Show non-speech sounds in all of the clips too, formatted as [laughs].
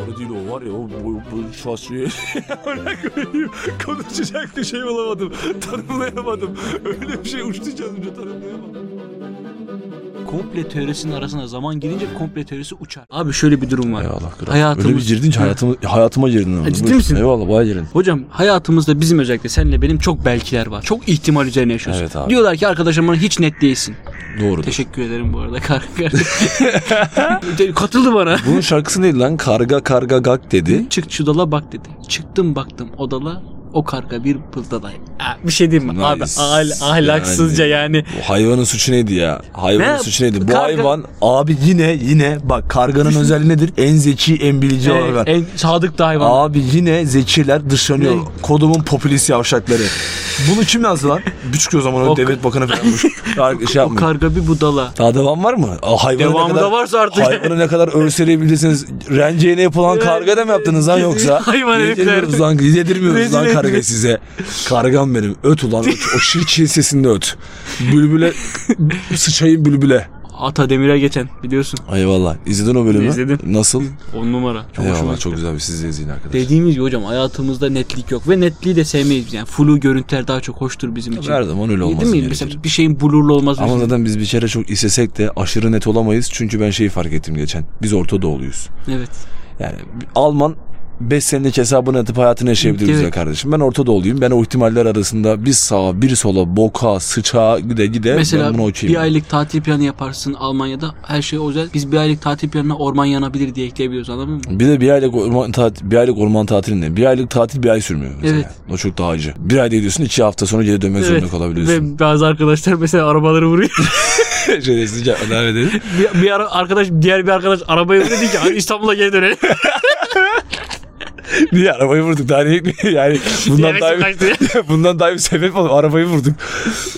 Arıdilo var ya o bu, bu [laughs] şasiye Örnek vereyim. konuşacak bir şey bulamadım. Tanımlayamadım. Öyle bir şey uçtu canımca tanımlayamadım. Komple teorisinin arasına zaman girince komple teorisi uçar. Abi şöyle bir durum var. Ey Allah kral. Hayatımız- Öyle bir girdin ki hayatıma, hayatıma girdin. ama. ciddi Buyur. misin? Eyvallah bayağı girdin. Hocam hayatımızda bizim özellikle senle benim çok belkiler var. Çok ihtimal üzerine yaşıyoruz. Evet abi. Diyorlar ki arkadaşım bana hiç net değilsin. Doğru. Teşekkür ederim bu arada [laughs] kanka. Katıldı bana. Bunun şarkısı neydi lan? Karga karga gak dedi. Çık şu dala bak dedi. Çıktım baktım odala o karga bir pıldaday. Aa, Bir şey diyeyim mi? Nice. Abi ahl- ahlaksızca yani. Bu hayvanın suçu neydi ya? Hayvanın Ne? suçu neydi? Bu Karga- hayvan abi yine yine bak [laughs] karganın özelliği nedir? En zeki en bilici Evet, hayvan. Ee, en sadık da hayvan. Abi yine zekiler dışlanıyor. Ne? Kodumun popülist yavşakları. Bunu kim yazdı lan? Buçuk o zaman o O- devlet bakanı falanmış. Ar- şey o yapmayın. karga bir budala. Daha devam var mı? Aa, hayvanı ne Devamı kadar, da varsa artık. Hayvanı ne kadar örseleyebilirsiniz. Renceğine yapılan Evet. karga da mı yaptınız lan yoksa? [laughs] Hayvan Yedirmiyoruz herifler. lan, yedirmiyoruz Rezil lan ettiniz. kargayı size. Kargam benim. Öt ulan öt. O şirkin sesinde öt. Bülbüle sıçayım bülbüle. Ata demire geçen biliyorsun. Eyvallah. İzledin o bölümü. İzledim. Nasıl? On numara. Çok hoşuma Eyvallah gitti. çok güzel bir siz de izleyin arkadaşlar. Dediğimiz gibi hocam hayatımızda netlik yok ve netliği de sevmeyiz biz. yani flu görüntüler daha çok hoştur bizim için. Her zaman öyle Değil olmaz. mi? Mesela bir şeyin blurlu olmaz. Ama bizim. zaten biz bir kere çok istesek de aşırı net olamayız. Çünkü ben şeyi fark ettim geçen. Biz Orta Doğuluyuz. Evet. Yani Alman 5 senelik hesabını atıp hayatını yaşayabilir Evet. bize kardeşim. Ben Orta Doğuluyum. Ben o ihtimaller arasında bir sağa bir sola boka sıçağa gide gide ben Mesela bunu bir okuyayım. aylık tatil planı yaparsın Almanya'da her şey özel. Biz bir aylık tatil planına orman yanabilir diye ekleyebiliyoruz anladın mı? Bir de bir aylık orman tatil, bir aylık orman tatilinde. Bir aylık tatil bir ay sürmüyor mesela. Evet. O çok daha acı. Bir ayda gidiyorsun iki hafta sonra geri dönmek zorunda kalabiliyorsun. Ve bazı arkadaşlar mesela arabaları vuruyor. [laughs] [laughs] Şöyle sıcak ödem edelim. bir, bir ara- arkadaş diğer bir arkadaş arabayı vuruyor diyor ki "Hadi İstanbul'a [laughs] geri dönelim. Niye arabayı vurduk daha ne [laughs] yani bundan Hevesim daha bir, kaçtı. [laughs] bundan daha bir sebep ol arabayı vurduk.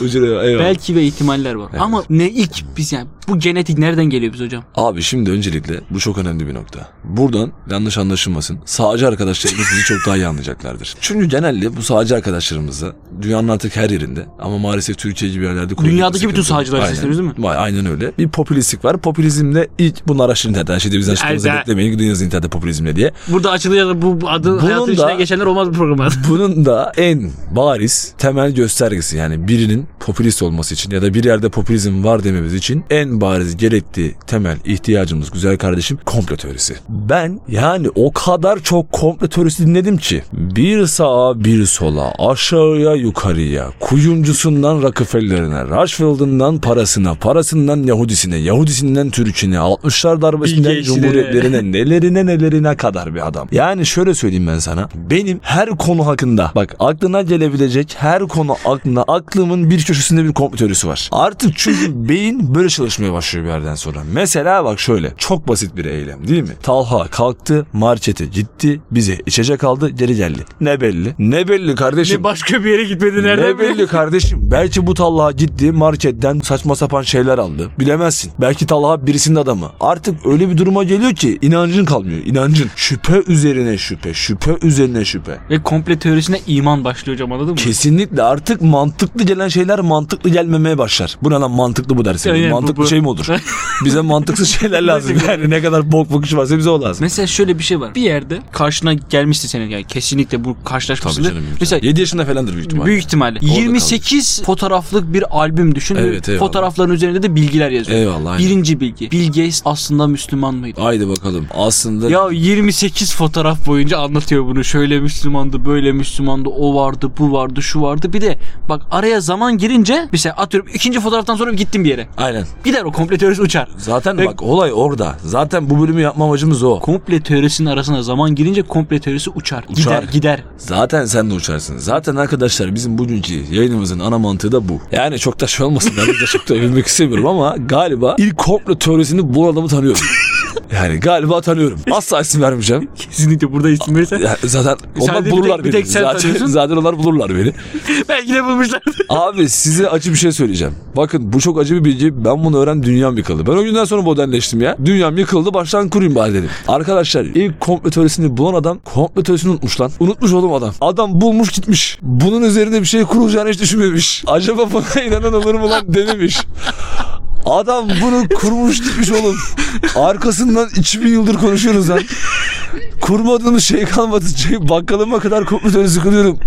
Ucuna eyvallah. Belki ve ihtimaller var. Ama ne ilk biz yani bu genetik nereden geliyor biz hocam? Abi şimdi öncelikle bu çok önemli bir nokta. Buradan yanlış anlaşılmasın. Sağcı arkadaşlarımız bizi çok daha iyi anlayacaklardır. Çünkü genelde bu sağcı arkadaşlarımızla dünyanın artık her yerinde ama maalesef Türkiye gibi yerlerde konu Dünyadaki gitmesi bütün sıkıntı. sağcıları Aynen. sesleniyoruz değil mi? Vay, aynen öyle. Bir popülistlik var. Popülizmle ilk bunu araştırın internetten. Her şeyde bizden açıklamanızı Aynen. beklemeyin. Gidiniz internette popülizmle diye. Burada açılıyor bu bu adı Bunun hayatın da- içine geçenler olmaz bu programda. Bunun da en bariz temel göstergesi yani birinin popülist olması için ya da bir yerde popülizm var dememiz için en bariz gerektiği temel ihtiyacımız güzel kardeşim komplo teorisi. Ben yani o kadar çok komplo teorisi dinledim ki bir sağa bir sola aşağıya yukarıya kuyumcusundan Rockefeller'ine Rushfield'ından parasına parasından Yahudisine Yahudisinden Türk'üne 60'lar darbesinden Bilge işine. Cumhuriyetlerine nelerine nelerine kadar bir adam. Yani şöyle söyleyeyim ben sana. Benim her konu hakkında bak aklına gelebilecek her konu aklına aklımın bir köşesinde bir komplo teorisi var. Artık çünkü beyin böyle çalışmaya başlıyor bir yerden sonra. Mesela bak şöyle çok basit bir eylem değil mi? Talha kalktı markete gitti bize içecek aldı geri geldi. Ne belli? Ne belli kardeşim? Ne başka bir yere gitmedi nereden Ne belli? belli kardeşim? Belki bu Talha gitti marketten saçma sapan şeyler aldı. Bilemezsin. Belki Talha birisinin adamı. Artık öyle bir duruma geliyor ki inancın kalmıyor. İnancın. Şüphe üzerine şüphe. Şüphe üzerine şüphe. Ve komple teorisine iman başlıyor hocam anladın mı? Kesinlikle artık mantıklı gelen şeyler mantıklı gelmemeye başlar. Bu ne lan mantıklı bu dersin. Aynen, bu- mantıklı bu. şey mi [laughs] olur? Bize mantıksız şeyler lazım. Yani ne kadar bok bakış varsa bize o lazım. Mesela şöyle bir şey var. Bir yerde karşına gelmişti senin yani kesinlikle bu karşılaşmasını. Mesela 7 yaşında falandır büyük ihtimalle. büyük ihtimalle kaldı. 28 fotoğraflık bir albüm düşün. ve Evet, eyvallah. Fotoğrafların üzerinde de bilgiler yazıyor. Eyvallah. aynen. Birinci bilgi. Bill Gates aslında Müslüman mıydı? Haydi bakalım. Aslında Ya 28 fotoğraf boyunca anlatıyor bunu. Şöyle Müslümandı, böyle Müslümandı, o vardı, bu vardı, şu vardı. Bir de bak araya zaman girince mesela atıyorum ikinci fotoğraftan sonra gittim bir yere. aynen. Gider o komple teorisi uçar. Zaten Ve- bak olay orada. Zaten bu bölümü yapma amacımız o. Komple teorisinin arasına zaman girince komple teorisi uçar. Uçar. Gider gider. [laughs] Zaten sen de uçarsın. Zaten arkadaşlar bizim bugünkü yayınımızın ana mantığı da bu. Yani çok da şey olmasın. Ben de çok da övünmek istemiyorum ama galiba ilk komplo teorisini bu adamı [laughs] tanıyorum. Yani galiba tanıyorum. Asla isim vermeyeceğim. Kesinlikle burada isim [laughs] verirsen Ya zaten onlar de bir bulurlar beni. tek- bir tek sen zaten, tanıyorsun. zaten onlar bulurlar beni. belki de bulmuşlardır. [laughs] Abi size acı bir şey söyleyeceğim. Bakın bu çok acı bir bilgi. Ben bunu öğrendim dünyam yıkıldı. Ben o günden sonra modernleştim ya. Dünyam yıkıldı baştan kurayım bari dedim. Arkadaşlar ilk komplo teorisini bulan adam komplo teorisini unutmuş lan. Unutmuş oğlum adam. Adam bulmuş gitmiş. Bunun üzerinde bir şey kurulacağını hiç düşünmemiş. Acaba buna [laughs] inanan olur mu lan dememiş. Adam bunu kurmuş gitmiş oğlum. Arkasından 2000 yıldır konuşuyoruz lan. kurmadığımız şey kalmadı. Şey, bakkalıma kadar komplo teorisi kuruyorum.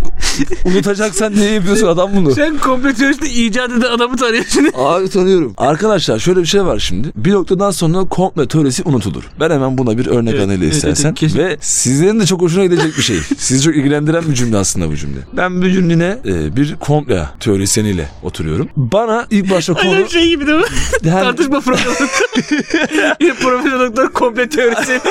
Unutacaksan niye yapıyorsun adam bunu? Sen komple teorisini icat eden adamı tanıyorsun. Abi tanıyorum. Arkadaşlar şöyle bir şey var şimdi. Bir noktadan sonra komplo teorisi unutulur. Ben hemen buna bir örnek Evet, analizi evet, istersen. evet, kesin. Ve sizlerin de çok hoşuna gidecek bir şey. Sizi çok ilgilendiren bir cümle aslında bu cümle. Ben bir cümlene e, bir komplo teorisyeniyle oturuyorum. Bana ilk başta konu... [laughs] Aynen şey gibi değil mi? Her- [laughs] Tartışma programı. Profesör doktor komple teorisi.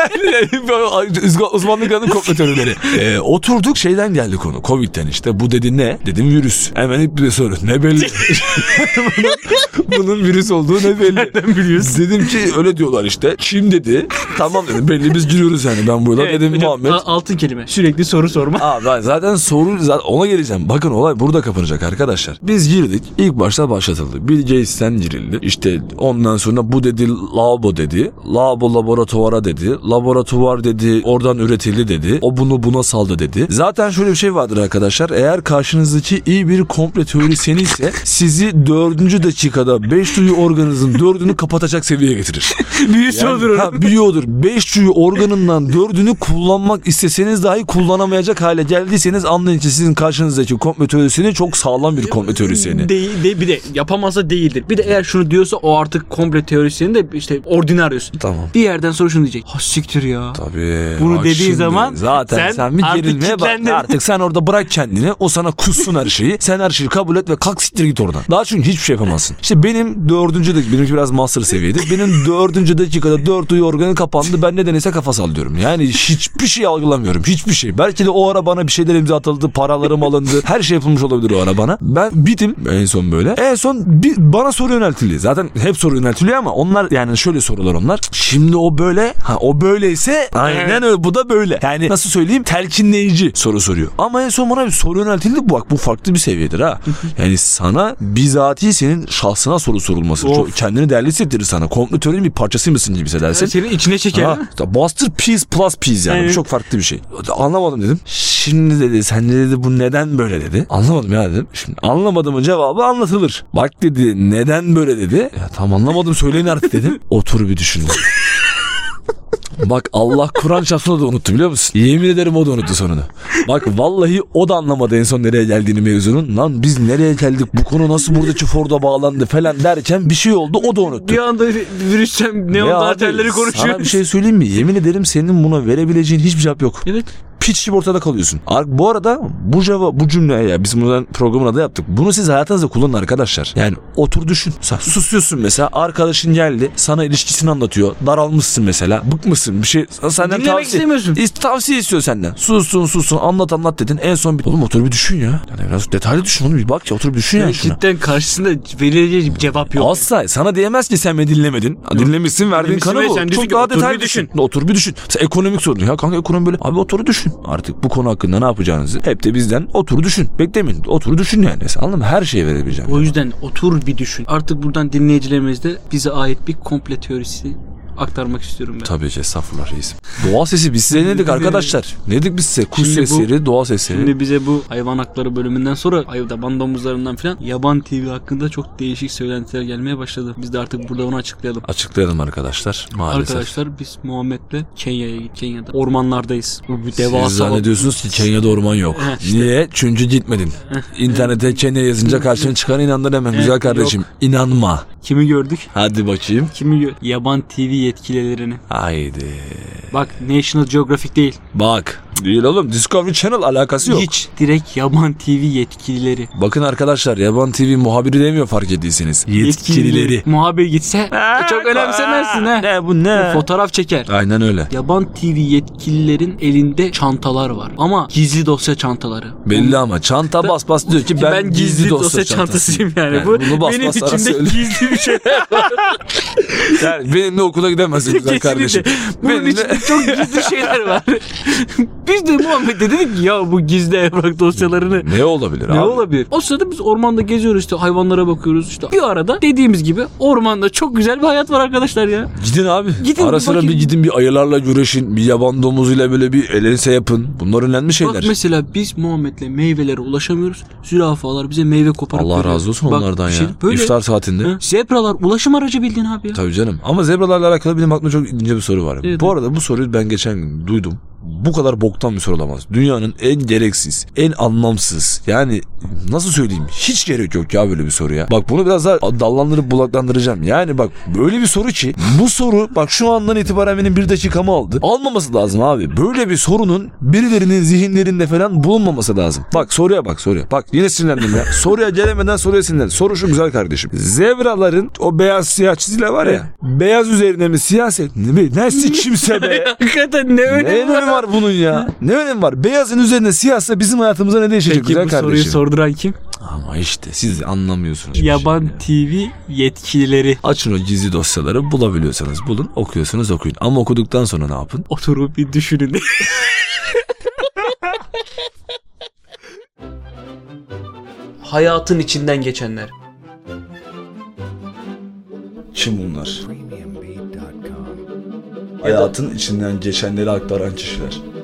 Uzman- Uzmanlık alanı komplo teorileri. Ee, oturduk şeyden geldi konu. Covid'den işte. Bu dedi ne? Dedim virüs. Hemen hep bir soru. Ne belli? [laughs] [laughs] bunun, bunun virüs olduğu ne belli? Nereden [laughs] biliyorsun? Dedim ki öyle diyorlar işte. Kim dedi? Tamam dedim. Belli biz giriyoruz yani. Ben burada dedim hocam, Muhammed. a- Altın kelime. Sürekli [laughs] soru sorma. [laughs] Aa ben zaten soru zaten ona geleceğim. Bakın olay burada kapanacak arkadaşlar. Biz girdik. İlk başta başlatıldı. Bill Gates'ten girildi. İşte ondan sonra bu dedi labo dedi. Labo laboratuvara dedi. Laboratuvar dedi. Oradan üretildi dedi. O bunu buna saldı dedi. Zaten şöyle bir şey vardır arkadaşlar. Eğer karşınızdaki iyi bir komple teorisyeni ise sizi dördüncü dakikada beş duyu organınızın dördünü kapatacak seviyeye getirir. Büyüsü Yani, olur onun. ha, büyüyordur. 5 tüyü organından dördünü kullanmak isteseniz dahi kullanamayacak hale geldiyseniz anlayın ki sizin karşınızdaki komplo teorisini çok sağlam bir komplo teorisyeni. Değil, de, bir de yapamazsa değildir. Bir de eğer şunu diyorsa o artık komple teorisyenin de işte ordinaryos. Tamam. Bir yerden sonra şunu diyecek. Ha siktir ya. Tabii. Bunu Bak dediği şimdi, zaman zaten sen, sen bir artık gerilmeye bak. kilitlendin. Artık sen orada bırak kendini. O sana kussun her şeyi. Sen her şeyi kabul et ve kalk siktir git oradan. Daha çünkü hiçbir şey yapamazsın. İşte benim dördüncü dakika. Benimki biraz master seviyeydi. Benim dördüncü dakikada dört duyu organı kapandı. Ben nedense kafa sallıyorum. Yani hiçbir şey algılamıyorum. Hiçbir şey. Belki de o ara bana bir şeyler imza atıldı. Paralarım alındı. Her şey yapılmış olabilir o ara bana. Ben bitim en son böyle. En son bir, bana soru yöneltildi. Zaten hep soru yöneltiliyor ama onlar yani şöyle sorular onlar. Şimdi o böyle. Ha o böyleyse aynen Evet. öyle. Bu da böyle. Yani nasıl söyleyeyim? Telkinleyici soru soruyor. Ama en son bana bir soru yöneltildi. Bu bak bu farklı bir seviyedir ha. Yani sana bizatihi senin şahsına soru sorulması. Of. Çok, kendini değerli hissettirir sana. Komplo teorinin bir parçası mısın gibi hissedersin. Senin içine çeker. Ha, masterpiece plus piece yani. Bu Evet. Çok farklı bir şey. Anlamadım dedim. Şimdi dedi sen de dedi bu neden böyle dedi. Anlamadım ya dedim. Şimdi anlamadığımın cevabı anlatılır. Bak dedi neden böyle dedi. Ya tam anlamadım söyleyin artık dedim. Otur bir düşün dedi. Bak Allah Kur'an şahsını da unuttu biliyor musun? Yemin ederim o da unuttu sonunu. Bak vallahi o da anlamadı en son nereye geldiğini mevzunun. Lan biz nereye geldik bu konu nasıl buradaki Ford'a bağlandı falan derken bir şey oldu o da unuttu. Bir anda virüsten neon Ya abi, arterleri konuşuyor. Sana bir [laughs] şey söyleyeyim mi? Yemin ederim senin buna verebileceğin hiçbir cevap yok. Evet. Piç gibi ortada kalıyorsun. Ar- Bu arada bu cevap, bu cümle ya biz bundan programın adı yaptık. Bunu siz hayatınızda kullanın arkadaşlar. Yani otur düşün. Sen susuyorsun mesela. Arkadaşın geldi. Sana ilişkisini anlatıyor. Daralmışsın mesela. Bıkmışsın bir şey. Senden Dinlemek tavsiye. istemiyorsun. İst- tavsiye istiyor senden. Sussun sussun anlat anlat dedin. En son bir. Oğlum otur bir düşün ya. Yani biraz detaylı düşün oğlum. Bir bak ya otur bir düşün ya Yani şuna. cidden karşısında verileceği bir cevap yok. Asla sana diyemez ki sen beni dinlemedin. Ha, Dinlemişsin verdiğin Dinlemişsin kanı ve bu. sen diyorsun Çok ki daha otur bir detaylı düşün. düşün. Otur bir düşün. Mesela ekonomik sorun. Ya kanka ekonomi böyle. Abi otur düşün. Artık bu konu hakkında ne yapacağınızı hep de bizden otur düşün. Beklemeyin. Otur düşün yani. Mesela anladın mı? Her şeye verebileceğim. O yüzden otur bir düşün. Artık buradan dinleyicilerimiz de bize ait bir komple teorisi aktarmak istiyorum ben. Tabii ki estağfurullah reisim. Doğa sesi biz size ne dedik arkadaşlar? Ne dedik biz size? Kuş Şimdi bu- sesleri, doğa sesleri. Şimdi bize bu hayvan hakları bölümünden sonra ayı da domuzlarından filan yaban TV hakkında çok değişik söylentiler gelmeye başladı. Biz de artık burada onu açıklayalım. Açıklayalım arkadaşlar. Maalesef. Arkadaşlar biz Muhammed'le Kenya'ya gittik. Kenya'da ormanlardayız. Bu bir Siz devasa zannediyorsunuz ki Kenya'da orman yok. Heh, işte. Niye? Çünkü gitmedin. İnternete Kenya yazınca karşına çıkan inandın hemen. Güzel yok. kardeşim. İnanma. kimi gördük? Hadi bakayım. Kimi gör? Yaban TV yetkililerini. Haydi. Bak National Geographic değil. Bak. Değil oğlum. Discovery Channel alakası yok. Hiç direkt Yaban TV yetkilileri. Bakın arkadaşlar Yaban TV muhabiri demiyor fark ettiyseniz. Muhabir gitse çok önemsemezsin ha. Ne bu ne? Fotoğraf çeker. Aynen öyle. Yaban TV yetkililerin elinde çantalar var. Ama gizli dosya çantaları. Belli ama çanta bas bas diyor ki ben, Ki ben, gizli, dosya, çantasıyım yani. Yani Bu bunu bas benim bas sana içimde söyle. gizli bir şey. [laughs] Yani benimle okula gidemezsin güzel Kesinlikle. kardeşim. Bunun Benimle- içinde çok gizli şeyler [laughs] var. biz de Muhammed'e dedik ki, ya bu gizli evrak dosyalarını Ne olabilir ne abi? olabilir? O sırada biz ormanda geziyoruz işte hayvanlara bakıyoruz işte. Bir arada dediğimiz gibi ormanda çok güzel bir hayat var arkadaşlar ya. Gidin abi. Gidin, Ara sıra bakın. bir gidin bir ayılarla güreşin. Bir yaban domuzuyla böyle bir elense yapın. Bunlar önemli şeyler. Bak mesela biz Muhammed'le meyvelere ulaşamıyoruz. Zürafalar bize meyve koparıp Allah veriyor. razı olsun Bak, onlardan bir ya. şey Böyle, İftar saatinde. Hı? Zebralar ulaşım aracı bildiğin abi ya. Tabii canım. Ama zebralarla alakalı benim aklımda çok ince bir soru var. Evet. Bu arada bu soruyu ben geçen gün duydum. bu kadar boktan bir soru olamaz. Dünyanın en gereksiz, en anlamsız yani nasıl söyleyeyim hiç gerek yok ya böyle bir soruya. Bak bunu biraz daha dallandırıp bulaklandıracağım. Yani bak böyle bir soru ki bu soru bak şu andan itibaren benim bir dakikamı aldı. Almaması lazım abi. Böyle bir sorunun birilerinin zihinlerinde falan bulunmaması lazım. Bak soruya bak soruya. Bak yine sinirlendim [laughs] ya. soruya gelemeden soruya sinirlendim. Soru şu güzel kardeşim. Zebraların o beyaz siyah çizgiler var ya. beyaz üzerine mi siyaset mi? [laughs] Ne kimse be. Hakikaten ne Ne önemi var? önemi var bunun ya? Ne önemi var? Beyazın üzerine siyahsa bizim hayatımıza ne değişecek Peki bu güzel soruyu kardeşim? şey sorduran kim? Ama işte siz anlamıyorsunuz. Yaban Şimdi. TV yetkilileri. Açın o gizli dosyaları bulabiliyorsanız bulun, okuyorsunuz okuyun. Ama okuduktan sonra ne yapın? Oturup bir düşünün. [laughs] Hayatın içinden geçenler. Kim bunlar? premiumbeat.com. Hayatın içinden geçenleri aktaran kişiler.